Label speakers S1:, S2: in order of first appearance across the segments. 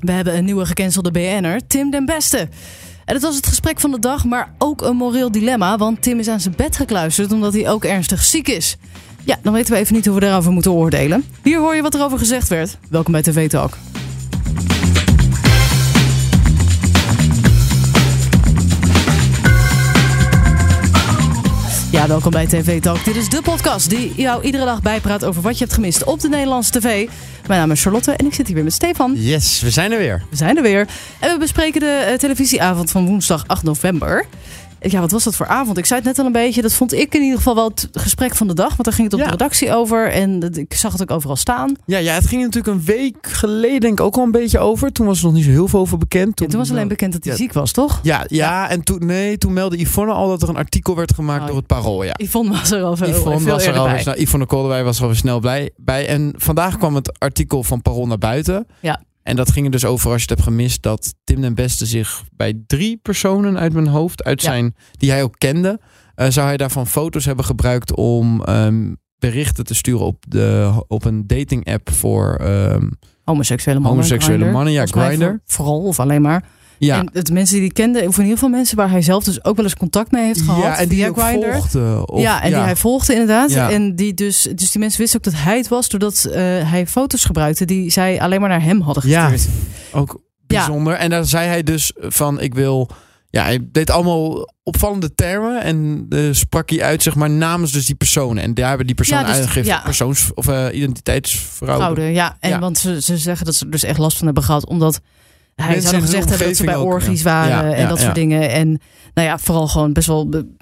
S1: We hebben een nieuwe gecancelde BN'er, Tim den Beste. En dat was het gesprek van de dag, maar ook een moreel dilemma. Want Tim is aan zijn bed gekluisterd omdat hij ook ernstig ziek is. Ja, dan weten we even niet hoe we daarover moeten oordelen. Hier hoor je wat er over gezegd werd. Welkom bij TV Talk. Ja, welkom bij TV Talk. Dit is de podcast die jou iedere dag bijpraat over wat je hebt gemist op de Nederlandse tv. Mijn naam is Charlotte en ik zit hier weer met Stefan.
S2: Yes, we zijn er weer.
S1: We zijn er weer. En we bespreken de eh, televisieavond van woensdag 8 november. Ja, wat was dat voor avond? Ik zei het net al een beetje. Dat vond ik in ieder geval wel het gesprek van de dag. Want daar ging het op
S2: Ja.
S1: de redactie over. En dat- ik zag het ook overal staan.
S2: Ja, ja, het ging natuurlijk een week geleden denk ik ook al een beetje over. Toen was er nog niet zo heel veel over bekend.
S1: Toen, toen was alleen bekend dat hij
S2: Ja.
S1: ziek was, toch?
S2: Ja, ja, en toen, nee, toen meldde Yvonne al dat er een artikel werd gemaakt
S1: Oh.
S2: door het Parool, ja.
S1: Yvonne was er al veel,
S2: Yvonne,
S1: Oh, veel
S2: was er
S1: eerder
S2: al dus-
S1: bij.
S2: snel, Yvonne Kolderwij was er al snel blij bij. En vandaag kwam het artikel van Parool naar buiten.
S1: Ja.
S2: En dat ging er dus over, als je het hebt gemist, dat Tim den Beste zich bij drie personen uit mijn hoofd, uit
S1: Ja.
S2: zijn, die hij ook kende, eh, zou hij daarvan foto's hebben gebruikt om ehm, berichten te sturen op, de, op een dating app voor ehm,
S1: Homoseksuele mannen.
S2: Homoseksuele
S1: Grindr.
S2: mannen, ja,
S1: Volgens mij
S2: Grindr.
S1: voor- Vooral of alleen maar.
S2: ja,
S1: En het mensen die hij kende, of in ieder geval mensen waar hij zelf dus ook wel eens contact mee heeft gehad.
S2: ja, en die
S1: via
S2: ook
S1: Grindr.
S2: volgde. Of,
S1: ja, en die hij volgde inderdaad.
S2: Ja.
S1: En die dus, dus die mensen wisten ook dat hij het was, doordat eh, hij foto's gebruikte die zij alleen maar naar hem hadden
S2: Ja,
S1: gestuurd.
S2: ook bijzonder. En daar zei hij dus van, ik wil... Ja, hij deed allemaal opvallende termen en eh, sprak hij uit, zeg maar, namens dus die personen. En daar hebben die personen
S1: Ja, dus-
S2: uitgegeven
S1: ja.
S2: persoons- of eh, identiteitsfraude.
S1: Fraude, ja. En
S2: Ja.
S1: want ze, ze zeggen dat ze er dus echt last van hebben gehad, omdat hij
S2: Mensen
S1: zou nog
S2: in zijn
S1: gezegd hebben dat ze bij
S2: omgeving ook,
S1: orgies
S2: ja.
S1: waren
S2: Ja,
S1: en
S2: ja,
S1: dat soort
S2: ja.
S1: dingen. En nou ja, vooral gewoon best wel be-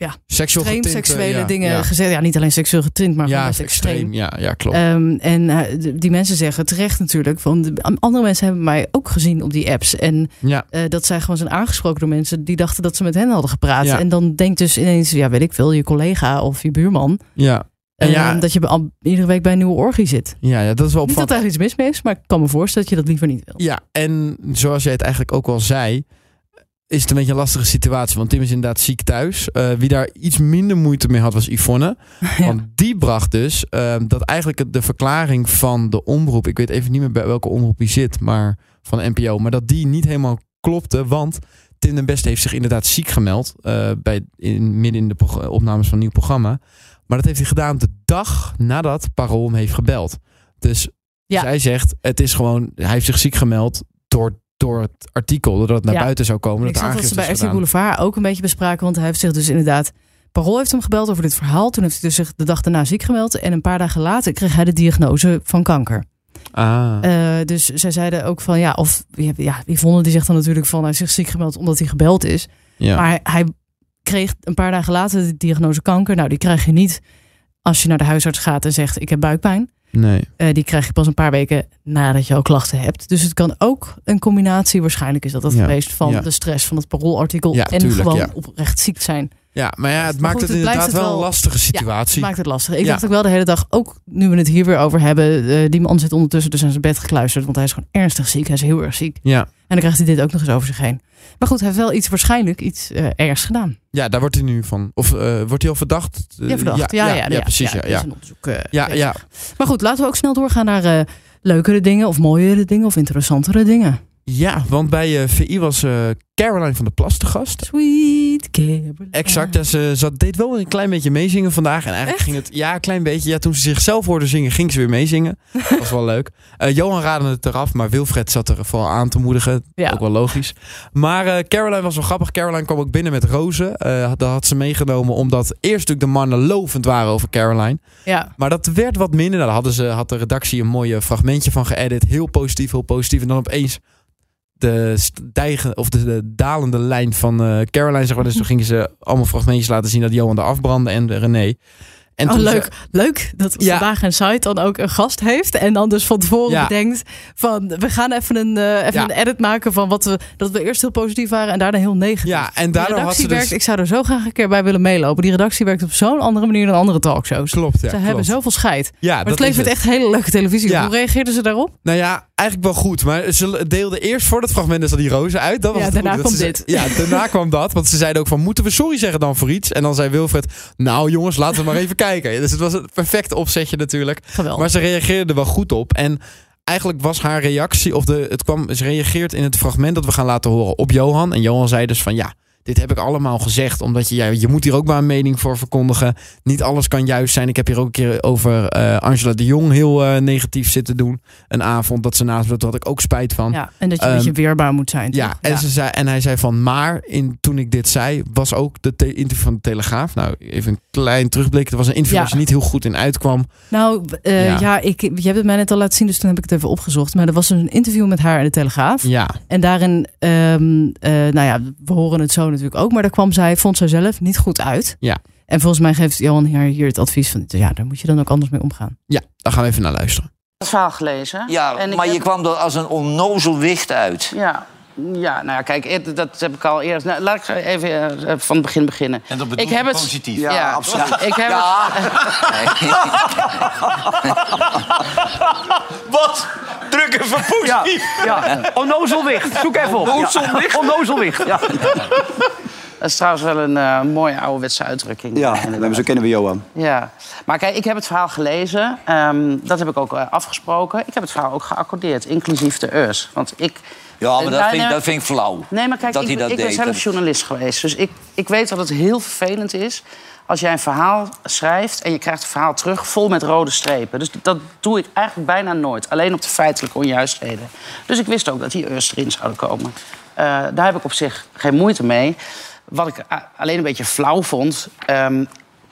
S2: Seksueel
S1: extreem
S2: getinte,
S1: seksuele
S2: ja,
S1: dingen
S2: Ja,
S1: gezegd. Ja, niet alleen seksueel getint, maar
S2: ja
S1: gewoon
S2: is
S1: best
S2: extreem.
S1: extreem.
S2: Ja, ja, klopt.
S1: Ehm, en eh, d- die mensen zeggen terecht natuurlijk, want andere mensen hebben mij ook gezien op die apps. En
S2: ja.
S1: eh, dat zij gewoon zijn aangesproken door mensen die dachten dat ze met hen hadden gepraat.
S2: Ja.
S1: En dan denkt dus ineens, ja, weet ik veel, je collega of je buurman.
S2: Ja. En
S1: eh,
S2: ja,
S1: dat je al iedere week bij een nieuwe orgie zit.
S2: ja, ja, dat is wel
S1: Niet dat
S2: opvallend.
S1: daar iets mis mee is, maar ik kan me voorstellen dat je dat liever niet wil.
S2: Ja, en zoals jij het eigenlijk ook al zei, is het een beetje een lastige situatie. Want Tim is inderdaad ziek thuis. Eh, wie daar iets minder moeite mee had, was Yvonne. Want die bracht dus ehm, dat eigenlijk het- de verklaring van de omroep, ik weet even niet meer bij welke omroep die zit, maar van de NPO, maar dat die niet helemaal klopte, want Tim den Beste heeft zich inderdaad ziek gemeld eh, bij, in, midden in de prog- opnames van een nieuw programma. Maar dat heeft hij gedaan de dag nadat Parool hem heeft gebeld. Dus
S1: Ja.
S2: zij zegt, het is gewoon, hij heeft zich ziek gemeld door, door het artikel, doordat het naar
S1: Ja.
S2: buiten zou komen.
S1: ik
S2: dat er
S1: zag dat
S2: aangifte
S1: ze bij
S2: is
S1: RTL
S2: gedaan.
S1: Boulevard ook een beetje bespraken, want hij heeft zich dus inderdaad... Parool heeft hem gebeld over dit verhaal. Toen heeft hij dus zich de dag daarna ziek gemeld. En een paar dagen later kreeg hij de diagnose van kanker.
S2: Ah.
S1: Eh, dus zij zeiden ook van ja, of ja, Yvonne die zegt dan natuurlijk van hij heeft zich ziek gemeld omdat hij gebeld is.
S2: ja.
S1: Maar hij- hij kreeg een paar dagen later de diagnose kanker. Nou, die krijg je niet als je naar de huisarts gaat en zegt: Ik heb buikpijn.
S2: nee.
S1: Eh, die krijg je pas een paar weken nadat je al klachten hebt. Dus het kan ook een combinatie, waarschijnlijk is dat dat
S2: Ja,
S1: geweest, van
S2: ja.
S1: de stress van het paroolartikel
S2: Ja,
S1: en
S2: tuurlijk,
S1: gewoon
S2: ja.
S1: oprecht ziek zijn.
S2: Ja, maar ja, het
S1: Maar
S2: maakt
S1: goed,
S2: het,
S1: het blijft
S2: inderdaad
S1: het
S2: wel,
S1: wel-
S2: een lastige
S1: Het
S2: situatie.
S1: maakt het lastig. Ik
S2: Ja.
S1: dacht ook wel de hele dag, ook nu we het hier weer over hebben, eh, die man zit ondertussen dus aan zijn bed gekluisterd, want hij is gewoon ernstig ziek. Hij is heel erg ziek.
S2: Ja.
S1: En dan krijgt hij dit ook nog eens over zich heen. Maar goed, hij heeft wel iets waarschijnlijk iets eh, ergs gedaan.
S2: ja, daar wordt hij nu van. Of eh, wordt hij al verdacht?
S1: Ja, verdacht. Ja, ja, ja,
S2: precies. Ja,
S1: er
S2: ja.
S1: is een onderzoek, eh,
S2: Ja,
S1: bezig.
S2: ja.
S1: Maar goed, laten we ook snel doorgaan naar eh, leukere dingen, of mooiere dingen, of interessantere dingen.
S2: Ja, want bij eh, VI was eh, Caroline van der Plas de gast.
S1: Sweet Caroline.
S2: Exact, en ze zat, deed wel een klein beetje meezingen vandaag. En eigenlijk ging het, ja, een klein beetje. Ja, toen ze zichzelf hoorde zingen, ging ze weer meezingen. Dat was wel leuk. Eh, Johan raadde het eraf, maar Wilfred zat er vooral aan te moedigen.
S1: Ja.
S2: Ook wel logisch. Maar eh, Caroline was wel grappig. Caroline kwam ook binnen met rozen. Eh, dat had ze meegenomen omdat eerst natuurlijk de mannen lovend waren over Caroline.
S1: Ja.
S2: Maar dat werd wat minder. Nou, daar hadden ze, had de redactie een mooi fragmentje van geëdit. Heel positief, heel positief. En dan opeens de, stijgen, of de, de dalende lijn van eh, Caroline, zeg maar. Dus toen gingen ze allemaal fragmentjes laten zien dat Johan eraf brandde en de René. En
S1: oh,
S2: toen ze-
S1: leuk. Leuk dat
S2: Ja.
S1: vandaag een site dan ook een gast heeft. En dan dus van tevoren
S2: Ja.
S1: bedenkt van we gaan even een, eh, even
S2: Ja.
S1: een edit maken van wat we, dat we eerst heel positief waren en daarna heel negatief.
S2: ja, en
S1: Die
S2: daardoor had
S1: redactie
S2: ze dus...
S1: werkt, ik zou er zo graag een keer bij willen meelopen. Die redactie werkt op zo'n andere manier dan andere talkshows.
S2: Klopt, ja.
S1: Ze hebben
S2: klopt.
S1: zoveel scheid.
S2: Ja,
S1: Maar het
S2: dat is
S1: levert echt hele leuke televisie. op.
S2: Ja.
S1: Hoe reageerden ze daarop?
S2: Nou ja, eigenlijk wel goed. Maar ze deelden eerst voor dat fragment dus al die rozen uit. Dat was
S1: Ja,
S2: het
S1: daarna
S2: goed. Dat
S1: kwam
S2: ze-
S1: dit.
S2: Ja, daarna kwam dat. Want ze zeiden ook van, moeten we sorry zeggen dan voor iets? En dan zei Wilfred, nou jongens, laten we maar even kijken. Dus het was een perfect opzetje natuurlijk.
S1: Geweldig.
S2: Maar ze reageerden er wel goed op. En eigenlijk was haar reactie, of de, het kwam, ze reageert in het fragment dat we gaan laten horen op Johan. En Johan zei dus van ja, dit heb ik allemaal gezegd, omdat je, ja, je moet hier ook maar een mening voor verkondigen. Niet alles kan juist zijn. Ik heb hier ook een keer over eh, Angela de Jong heel eh, negatief zitten doen. Een avond dat ze naast me, dat had ik ook spijt van.
S1: Ja, en dat je een
S2: Ehm,
S1: beetje weerbaar moet zijn.
S2: Ja,
S1: toch?
S2: en, Ze zei, en hij zei van, maar in, toen ik dit zei, was ook de te- interview van de Telegraaf. Nou, even een klein terugblik. Het was een interview
S1: Ja.
S2: waar ze niet heel goed in uitkwam.
S1: Nou, eh,
S2: Ja.
S1: ja, ik, je hebt het mij net al laten zien, dus toen heb ik het even opgezocht. Maar er was een interview met haar in de Telegraaf.
S2: Ja,
S1: En daarin, ehm, eh, nou ja, we horen het zo natuurlijk ook. Maar daar kwam zij, vond zij zelf, niet goed uit.
S2: Ja.
S1: En volgens mij geeft Johan haar hier het advies van, ja, daar moet je dan ook anders mee omgaan.
S2: ja, daar gaan we even naar luisteren.
S3: het verhaal gelezen.
S4: Ja,
S3: En ik
S4: maar je
S3: heb-
S4: kwam er als een onnozel wicht uit.
S3: Ja. Ja, nou ja, kijk, het- dat heb ik al eerst. Nou, laat ik even eh, van het begin beginnen.
S5: En dat bedoel
S3: ik heb
S5: je
S3: het-
S5: positief?
S4: Ja, absoluut.
S3: Ik heb
S4: Ja.
S3: het-
S5: Wat? Druk even
S6: Ja, ja. Onnozelwicht. Zoek even op. Onnozelwicht? Onnozelwicht, ja.
S3: dat is trouwens wel een eh, mooie ouderwetse uitdrukking.
S6: Ja, eh,
S3: inderdaad.
S6: zo kennen we Johan.
S3: Ja, maar kijk, ik heb het verhaal gelezen. Ehm, dat heb ik ook eh, afgesproken. Ik heb het verhaal ook geaccordeerd, inclusief de Eurs. Want ik...
S4: Ja, maar dat
S3: Nou,
S4: vind, ik-
S3: nou,
S4: dat vind ik flauw.
S3: Nee, maar kijk,
S4: dat
S3: ik,
S4: hij dat
S3: ik
S4: deed.
S3: ben zelf journalist geweest. Dus ik, ik weet dat het heel vervelend is als jij een verhaal schrijft... en je krijgt een verhaal terug vol met rode strepen. Dus dat doe ik eigenlijk bijna nooit. Alleen op de feitelijke onjuistheden. Dus ik wist ook dat die eerst erin zouden komen. Eh, daar heb ik op zich geen moeite mee. Wat ik a- alleen een beetje flauw vond... ehm,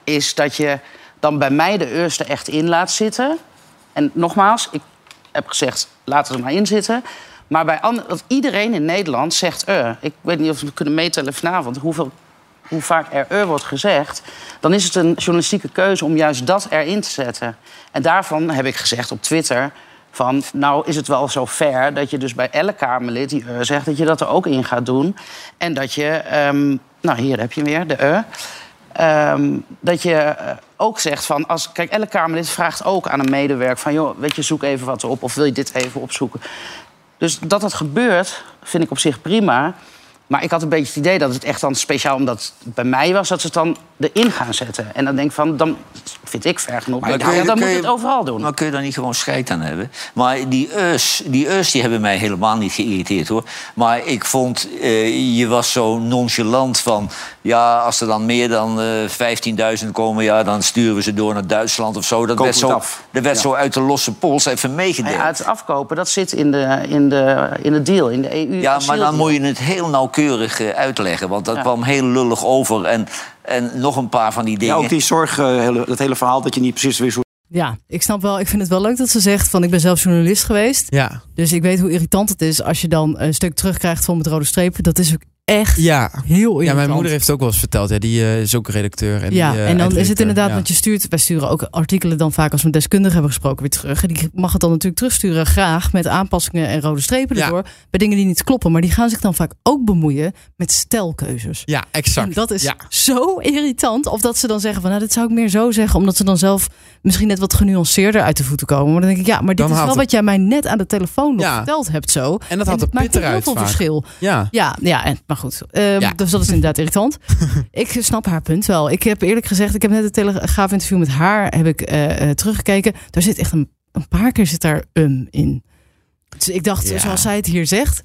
S3: is dat je dan bij mij de eerste echt in laat zitten. En nogmaals, ik heb gezegd, laten we er maar in zitten. Maar bij ander- want iedereen in Nederland zegt er. Ik weet niet of we kunnen meetellen vanavond hoeveel, hoe vaak er er wordt gezegd. Dan is het een journalistieke keuze om juist dat erin te zetten. En daarvan heb ik gezegd op Twitter... van nou is het wel zo ver dat je dus bij elk Kamerlid die er zegt... dat je dat er ook in gaat doen. En dat je... ehm, nou, hier heb je hem weer, de er. Ehm, dat je eh, ook zegt van... Als, kijk, elke Kamerlid vraagt ook aan een medewerker van... joh, weet je, zoek even wat op of wil je dit even opzoeken. Dus dat dat gebeurt, vind ik op zich prima. Maar ik had een beetje het idee dat het echt dan speciaal... omdat het bij mij was, dat ze het dan erin gaan zetten. En dan denk ik van, dan vind ik ver genoeg.
S4: Maar
S3: Nou,
S4: kun je-
S3: ja, dan
S4: kun
S3: moet je
S4: je-
S3: het overal doen.
S4: Maar kun je daar niet gewoon scheid aan hebben? Maar die us, die us die hebben mij helemaal niet geïrriteerd hoor. Maar ik vond, eh, je was zo nonchalant van... ja, als er dan meer dan eh 15.000 komen... ja, dan sturen we ze door naar Duitsland of zo. Dat werd,
S6: we
S4: zo,
S6: het af.
S4: dat werd zo uit de losse pols even meegedeeld.
S3: Ja, het afkopen, dat zit in de, in de, in de deal, in de E EU.
S4: Ja, maar
S3: asieldeal.
S4: dan moet je het heel nauwkeurig eh, uitleggen. Want dat kwam heel lullig over. En, en nog een paar van die
S6: Ja,
S4: dingen.
S6: ook die zorg, eh, hele, dat hele verhaal dat je niet precies wist hoe...
S1: Ja, ik snap wel. Ik vind het wel leuk dat ze zegt van ik ben zelf journalist geweest.
S2: Ja,
S1: Dus ik weet hoe irritant het is als je dan een stuk terugkrijgt vol met rode strepen. Dat is ook echt
S2: ja.
S1: heel irritant.
S2: Ja, mijn moeder heeft het ook wel eens verteld. Ja, die eh, is ook redacteur. En
S1: ja,
S2: die, eh,
S1: en dan is het
S2: eindredacteur.
S1: inderdaad,
S2: Ja.
S1: want je stuurt, wij sturen ook artikelen dan vaak als we een deskundige hebben gesproken weer terug. En die mag het dan natuurlijk terugsturen, graag met aanpassingen en rode strepen
S2: Ja.
S1: erdoor. Bij dingen die niet kloppen, maar die gaan zich dan vaak ook bemoeien met stelkeuzes.
S2: Ja, exact.
S1: En dat is
S2: Ja.
S1: zo irritant. Of dat ze dan zeggen van, nou, dit zou ik meer zo zeggen. Omdat ze dan zelf misschien net wat genuanceerder uit de voeten komen. Maar dan denk ik, ja, maar dit
S2: Dan
S1: is
S2: haalt
S1: wel
S2: het-
S1: wat jij mij net aan de telefoon nog
S2: Ja.
S1: verteld hebt zo.
S2: En dat had de
S1: het maakt
S2: pit eruit
S1: heel veel
S2: vaak.
S1: verschil.
S2: Ja.
S1: Ja, ja en, maar goed. Ehm,
S2: Ja.
S1: Dus dat is inderdaad irritant. ik snap haar punt wel. Ik heb eerlijk gezegd, ik heb net een telegraaf interview met haar heb ik, eh, eh, teruggekeken. Daar zit echt een, een paar keer zit daar um in. Dus ik dacht,
S2: Ja.
S1: zoals zij het hier zegt,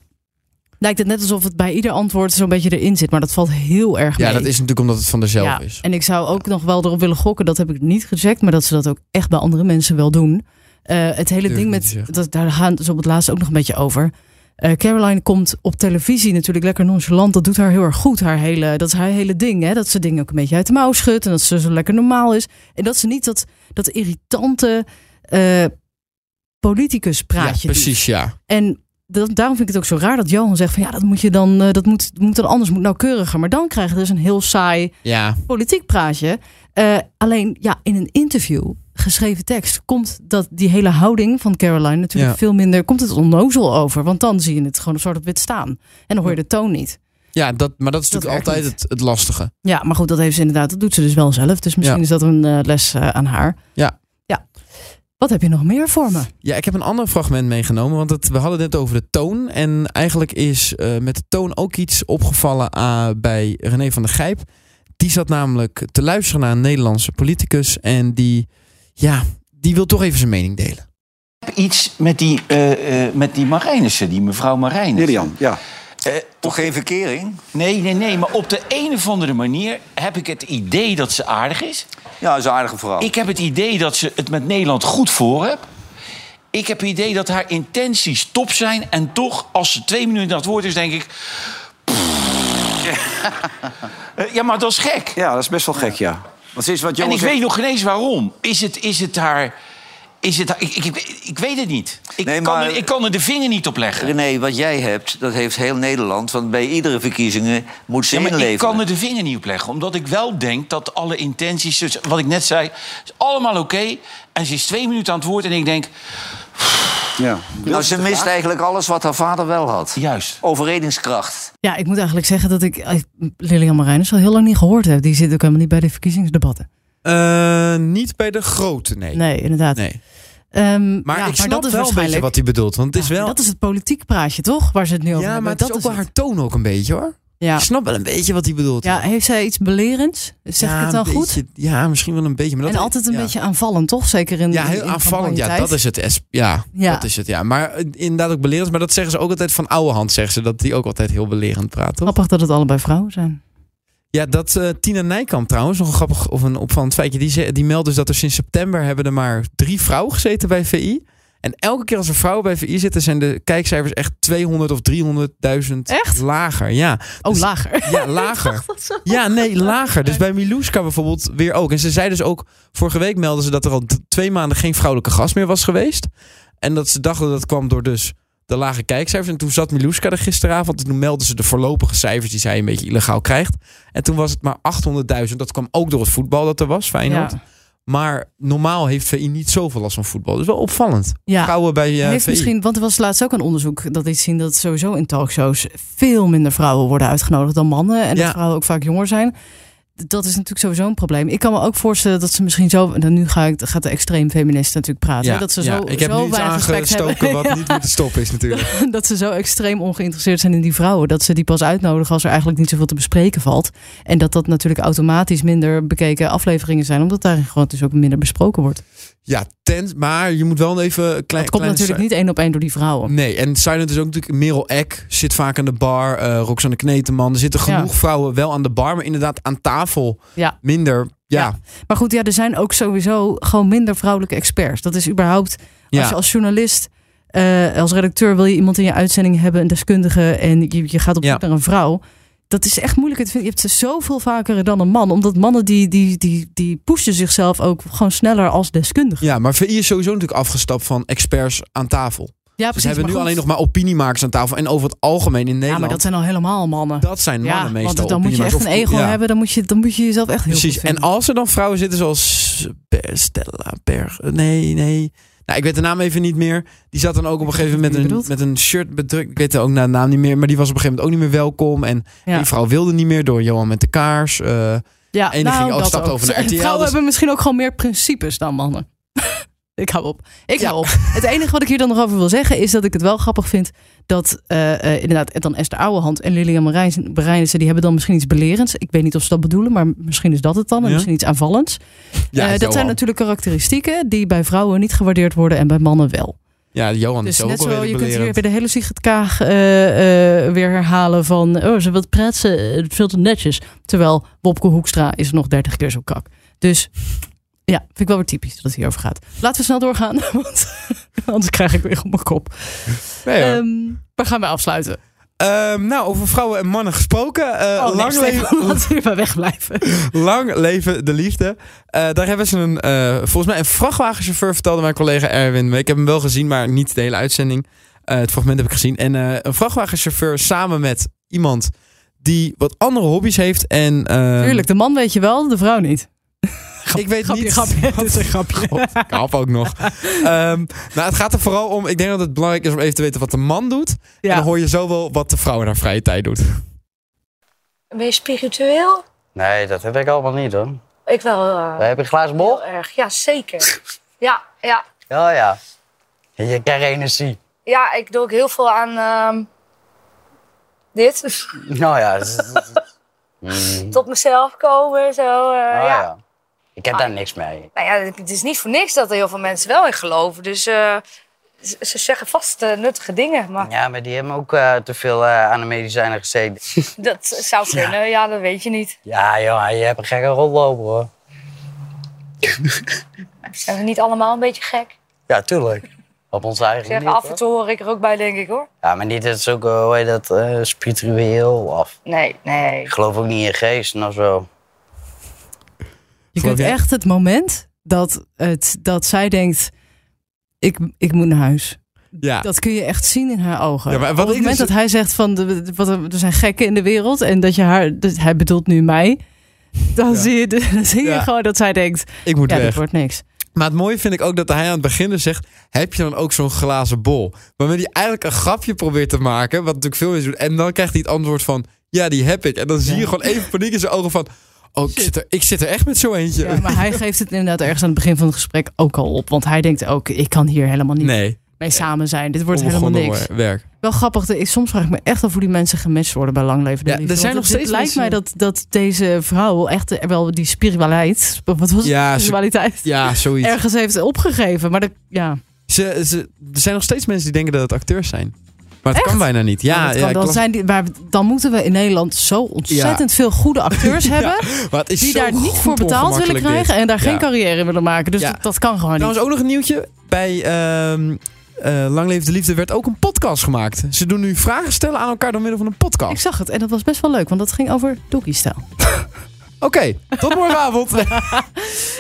S1: lijkt het net alsof het bij ieder antwoord zo'n beetje erin zit. Maar dat valt heel erg mee.
S2: ja, dat is natuurlijk omdat het van haarzelf
S1: Ja,
S2: is.
S1: En ik zou ook nog wel erop willen gokken, dat heb ik niet gecheckt, maar dat ze dat ook echt bij andere mensen wel doen. Eh, het hele
S2: Durf
S1: ding
S2: niet te
S1: met,
S2: zeggen.
S1: dat, daar gaan ze op het laatst ook nog een beetje over. Eh, Caroline komt op televisie natuurlijk lekker nonchalant. Dat doet haar heel erg goed. Haar hele, dat is haar hele ding. Hè? Dat ze dingen ook een beetje uit de mouw schudt. En dat ze zo lekker normaal is. En dat ze niet dat, dat irritante eh, politicus
S2: Ja,
S1: praatje dus. doet.
S2: precies, ja.
S1: En dat, daarom vind ik het ook zo raar dat Johan zegt van ja, dat moet je dan, eh, dat moet, moet dan anders, moet nauwkeuriger. Maar dan krijg je dus een heel saai
S2: Ja,
S1: politiek praatje. Eh, alleen ja, in een interview, geschreven tekst, komt dat die hele houding van Caroline natuurlijk
S2: Ja.
S1: veel minder. Komt het onnozel over? Want dan zie je het gewoon zwart op wit staan. En dan hoor je de toon niet.
S2: ja dat, maar dat is
S1: Dat
S2: natuurlijk
S1: werkt
S2: altijd het, het lastige.
S1: Ja, maar goed, dat heeft ze inderdaad. Dat doet ze dus wel zelf. Dus misschien
S2: Ja.
S1: is dat een eh, les eh, aan haar.
S2: Ja.
S1: Ja. Wat heb je nog meer voor me?
S2: Ja, ik heb een ander fragment meegenomen, want het, we hadden het net over de toon. En eigenlijk is eh, met de toon ook iets opgevallen ah, bij René van der Gijp. Die zat namelijk te luisteren naar een Nederlandse politicus en die, ja, die wil toch even zijn mening delen.
S5: iets met die, eh, eh, met die Marijnissen, die mevrouw Marijnissen.
S6: Lilian, ja.
S4: Toch geen verkering?
S5: Nee, nee, nee, maar op de een of andere manier heb ik het idee dat ze aardig is.
S4: Ja, dat is een aardige
S6: Oh.
S4: vrouw.
S5: Ik heb het idee dat ze het met Nederland goed voor heeft. Ik heb het idee dat haar intenties top zijn. En toch, als ze twee minuten aan het woord is, denk ik... Eh, ja, maar dat is gek.
S6: ja, dat is best wel gek, ja. Want ze is wat
S5: En ik
S6: jongens...
S5: weet nog geen eens waarom. Is het, is het haar... Is het haar- ik, ik, ik weet het niet. Ik,
S4: Nee,
S5: kan
S4: maar-
S5: er, ik kan er de vinger niet op leggen.
S4: René, wat jij hebt, dat heeft heel Nederland. Want bij iedere verkiezingen moet ze
S5: Ja, maar
S4: inleveren.
S5: ik kan er de vinger niet op leggen. Omdat ik wel denk dat alle intenties... dus wat ik net zei, is allemaal oké. En ze is twee minuten aan het woord en ik denk...
S6: Ja.
S4: Nou, ze mist eigenlijk alles wat haar vader wel had.
S5: Juist.
S4: Overredingskracht.
S1: Ja, ik moet eigenlijk zeggen dat ik eh, Lilian Marijnus al heel lang niet gehoord heb. Die zit ook helemaal niet bij de verkiezingsdebatten.
S2: Eh, niet bij de grote, nee.
S1: Nee, inderdaad.
S2: Nee.
S1: Ehm,
S2: Maar
S1: ja,
S2: ik snap wel een beetje wat hij bedoelt. Want het is wel...
S1: Dat is het politiek praatje, toch? Waar ze het nu over
S2: ja,
S1: hebben.
S2: maar het is
S1: dat
S2: ook wel
S1: het.
S2: haar toon ook een beetje, hoor.
S1: Ja.
S2: Ik snap wel een beetje wat hij bedoelt.
S1: ja, heeft zij iets belerends? Zeg
S2: Ja,
S1: ik het
S2: een
S1: dan goed?
S2: beetje- Ja, misschien wel een beetje. Maar dat
S1: En altijd een
S2: ja.
S1: beetje aanvallend, toch? Zeker in
S2: Ja, heel
S1: in
S2: aanvallend. Ja,
S1: campagnetijd.
S2: dat is het. S- Ja,
S1: Ja.
S2: dat is het. Ja. Maar eh, inderdaad ook belerend. Maar dat zeggen ze ook altijd van oude hand, zeggen ze. Dat die ook altijd heel belerend praat, toch?
S1: Grappig dat het allebei vrouwen zijn.
S2: Ja, dat eh, Tina Nijkamp trouwens, nog een grappig of een opvallend feitje. Die, ze- die meldt dus dat er sinds september hebben er maar drie vrouwen gezeten bij VI. En elke keer als er vrouwen bij VI zitten, zijn de kijkcijfers echt 200 of 300.000
S1: Echt?
S2: lager. Ja,
S1: Oh,
S2: Dus-
S1: lager.
S2: ja lager. Ja, nee, lager. Dus bij Miluska bijvoorbeeld weer ook. En ze zei dus ook, vorige week melden ze dat er al d- twee maanden geen vrouwelijke gast meer was geweest. En dat ze dachten dat kwam door dus de lage kijkcijfers. En toen zat Miluska er gisteravond. En toen meldden ze de voorlopige cijfers die zij een beetje illegaal krijgt. En toen was het maar 800.000. Dat kwam ook door het voetbal dat er was, Feyenoord.
S1: Ja.
S2: Maar normaal heeft VI niet zoveel last van voetbal. Dus wel opvallend.
S1: Ja.
S2: Vrouwen bij eh,
S1: heeft
S2: VI.
S1: misschien, want er was laatst ook een onderzoek dat iets zien dat sowieso in talkshows veel minder vrouwen worden uitgenodigd dan mannen. En
S2: Ja.
S1: dat vrouwen ook vaak jonger zijn. D- Dat is natuurlijk sowieso een probleem. Ik kan me ook voorstellen dat ze misschien zo. Dan nu ga ik, gaat de extreem feminist natuurlijk praten.
S2: Ja,
S1: hè, dat ze
S2: ja.
S1: zo,
S2: ik heb
S1: zo
S2: nu iets
S1: weinig respect
S2: aangestoken
S1: hebben.
S2: wat niet meer te stoppen is natuurlijk.
S1: dat ze zo extreem ongeïnteresseerd zijn in die vrouwen. Dat ze die pas uitnodigen als er eigenlijk niet zoveel te bespreken valt. En dat dat natuurlijk automatisch minder bekeken afleveringen zijn. Omdat daarin gewoon dus ook minder besproken wordt.
S2: Ja, tent, maar je moet wel even een klein.
S1: Dat komt
S2: kleine
S1: natuurlijk niet één op één door die vrouwen.
S2: Nee, en Silent is ook natuurlijk... Merel Eck zit vaak aan de bar. eh Roxanne Kneteman. Er zitten genoeg
S1: Ja.
S2: vrouwen wel aan de bar. Maar inderdaad aan tafel
S1: Ja.
S2: minder. Ja,
S1: Maar goed, ja, er zijn ook sowieso gewoon minder vrouwelijke experts. Dat is überhaupt,
S2: ja.
S1: als je als journalist, eh, als redacteur wil je iemand in je uitzending hebben, een deskundige, en je, je gaat op
S2: Ja.
S1: zoek naar een vrouw. Dat is echt moeilijk. Het vind- Je hebt ze zoveel vaker dan een man. Omdat mannen die, die, die, die pushen zichzelf ook gewoon sneller als deskundige.
S2: ja, maar VI is sowieso natuurlijk afgestapt van experts aan tafel.
S1: Ja,
S2: Dus Ze hebben nu
S1: maar goed.
S2: alleen nog maar opiniemakers aan tafel. En over het algemeen in
S1: Ja,
S2: Nederland...
S1: maar dat zijn al helemaal mannen.
S2: dat zijn mannen
S1: ja,
S2: meestal.
S1: want dan moet je echt
S2: opiniemakers.
S1: een
S2: Of-
S1: ego
S2: ja,
S1: hebben. Dan moet, je, dan moet je jezelf echt heel
S2: Precies.
S1: goed
S2: En
S1: vinden.
S2: als er dan vrouwen zitten zoals... Ber- Stella Berg... Nee, nee... Nou, ik weet de naam even niet meer. Die zat dan ook op een gegeven moment
S1: wie
S2: met
S1: je
S2: een,
S1: bedoelt.
S2: met een shirt bedrukt. Ik weet ook na de naam niet meer. Maar die was op een gegeven moment ook niet meer welkom. En
S1: Ja.
S2: Die vrouw wilde niet meer door Johan met de kaars. eh,
S1: Ja, nou,
S2: En die ging ook
S1: dat
S2: stapt over naar RTL,
S1: Vrouwen
S2: dus-
S1: hebben misschien ook gewoon meer principes dan mannen. ik hou op. Ik
S2: Ja.
S1: hou op. Het enige wat ik hier dan nog over wil zeggen is dat ik het wel grappig vind dat eh, eh, inderdaad dan Esther Ouwehand en Lilian Marijnissen- Marijnissen die hebben dan misschien iets belerends. Ik weet niet of ze dat bedoelen, maar misschien is dat het dan en
S2: Ja.
S1: misschien iets aanvallends.
S2: ja,
S1: Eh, dat
S2: Johan.
S1: zijn natuurlijk karakteristieken die bij vrouwen niet gewaardeerd worden en bij mannen wel.
S2: Ja, Johan
S1: Dus
S2: is ook
S1: net
S2: wel
S1: zo, je
S2: redelijk
S1: kunt hier
S2: belerend.
S1: weer de hele Sigrid Kaag eh, eh, weer herhalen van... oh, ze wil praten, eh, veel te netjes. Terwijl Wopke Hoekstra is nog dertig keer zo kak. Dus ja, vind ik wel weer typisch dat het hierover gaat. Laten we snel doorgaan, want anders krijg ik weer op mijn kop.
S2: Nee, hoor.
S1: Ehm, we gaan weer afsluiten.
S2: Ehm, nou, over vrouwen en mannen gesproken. Eh, Ehm,
S1: oh, nee,
S2: lang,
S1: Stefan,
S2: leven,
S1: laten we hierbij wegblijven.
S2: lang leven de liefde. Eh, daar hebben ze een, eh, volgens mij een vrachtwagenchauffeur, vertelde mijn collega Erwin. Ik heb hem wel gezien, maar niet de hele uitzending. Eh, het fragment heb ik gezien. En eh, een vrachtwagenchauffeur samen met iemand die wat andere hobby's heeft. En, eh,
S1: Tuurlijk, de man weet je wel, de vrouw niet.
S2: ik weet
S1: grapje,
S2: niet
S1: grapje.
S2: wat-
S1: Dit is een grapje.
S2: God, ik hap ook nog. Ehm, nou, het gaat er vooral om. Ik denk dat het belangrijk is om even te weten wat de man doet. En dan
S1: Ja.
S2: hoor je zo wel wat de vrouw in haar vrije tijd doet.
S7: Ben je spiritueel?
S8: Nee, dat heb ik allemaal niet hoor.
S7: Ik wel eh,
S8: Heb je een glazen
S7: heel
S8: bol?
S7: erg. Ja, zeker. Ja, ja.
S8: Ja, ja. Je krijgt energie.
S7: ja, ik doe ook heel veel aan ehm, dit.
S8: Nou ja. dat is-
S7: Tot mezelf komen, zo. eh,
S8: nou
S7: Mm. ja. Ah.
S8: ja. Ik heb daar niks mee.
S7: Nou ja, het is niet voor niks dat er heel veel mensen wel in geloven. Dus eh, ze, ze zeggen vast eh, nuttige dingen, maar
S8: Ja, maar die hebben ook eh, te veel eh, aan de medicijnen gezeten.
S7: dat zou kunnen. Ja. dat weet je niet.
S8: Ja, jongen, je hebt een gekke rondloper hoor.
S7: Zijn we niet allemaal een beetje gek?
S8: Ja, tuurlijk. Op onze eigen
S7: Ik zeg,
S8: manier,
S7: af en
S8: toch?
S7: toe hoor ik er ook bij, denk ik hoor.
S8: Ja, maar niet dat is ook, eh, hoe heet dat, eh, spiritueel af.
S7: Nee, nee.
S8: Ik geloof ook niet in geesten of zo.
S1: Je
S2: Geloof
S1: kunt
S2: jij-
S1: echt het moment dat, het, dat zij denkt, ik, ik moet naar huis.
S2: Ja.
S1: Dat kun je echt zien in haar ogen.
S2: Ah. Ja, maar wat
S1: Op het
S2: ik
S1: moment
S2: dus-
S1: dat hij zegt van de, de- wat, er er zijn gekken in de wereld en dat je haar, dus hij bedoelt nu mij, dan
S2: Ja.
S1: zie je, de- dan zie je
S2: Ja.
S1: gewoon dat zij denkt,
S2: Ik moet
S1: ja, dit
S2: weg.
S1: wordt niks.
S2: Maar het mooie vind ik ook dat hij aan het begin dus zegt... heb je dan ook zo'n glazen bol? Waarmee hij eigenlijk een grapje probeert te maken... wat natuurlijk veel mensen doen. En dan krijgt hij het antwoord van... ja, die heb ik. En dan zie je gewoon even paniek in zijn ogen van... oh, ik zit er, ik zit er echt met zo eentje.
S1: Ja, maar hij geeft het inderdaad ergens aan het begin van het gesprek ook al op. Want hij denkt ook, ik kan hier helemaal niet
S2: nee,
S1: mee samen zijn. Dit wordt helemaal
S2: onbegonnen
S1: niks.
S2: werk.
S1: Wel grappig, er is- soms vraag ik me echt af hoe die mensen gematcht worden bij langlevende
S2: Ja, er
S1: liefde.
S2: zijn
S1: Want
S2: nog
S1: het-
S2: steeds
S1: Het lijkt mij dat, dat deze vrouw echt eh, wel die spiritualiteit, wat was het,
S2: Ja, ze-
S1: spiritualiteit,
S2: Ja, zoiets.
S1: ergens heeft opgegeven. Maar dat, ja,
S2: Ze, ze, er zijn nog steeds mensen die denken dat het acteurs zijn. Maar het kan bijna niet. Ja,
S1: Maar Nou, dat kan-
S2: ja, ik
S1: dan,
S2: las-
S1: zijn die, maar dan moeten we in Nederland zo ontzettend veel goede acteurs hebben...
S2: maar het is
S1: die
S2: zo
S1: daar niet
S2: goed
S1: voor betaald willen
S2: ongemakkelijk dit.
S1: krijgen en daar
S2: Ja.
S1: geen carrière in willen maken. Dus
S2: Ja.
S1: dat, dat kan gewoon niet.
S2: Trouwens, ook nog een nieuwtje. Bij ehm eh Lang Leef de Liefde werd ook een podcast gemaakt. Ze doen nu vragen stellen aan elkaar door middel van een
S1: Ik
S2: podcast.
S1: zag het en dat was best wel leuk, want dat ging over Doekie-stijl.
S2: Oké, tot morgenavond.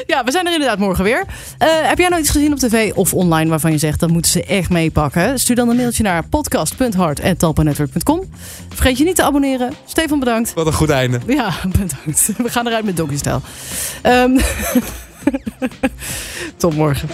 S1: Ja, we zijn er inderdaad morgen weer. Eh, heb jij nou iets gezien op tv of online waarvan je zegt dat moeten ze echt meepakken? Stuur dan een mailtje naar podcast.hart.talpanetwerk.com. Vergeet je niet te abonneren. Stefan, bedankt.
S2: Wat een goed einde.
S1: Ja, bedankt. We gaan eruit met Doggystyle. Ehm Tot morgen.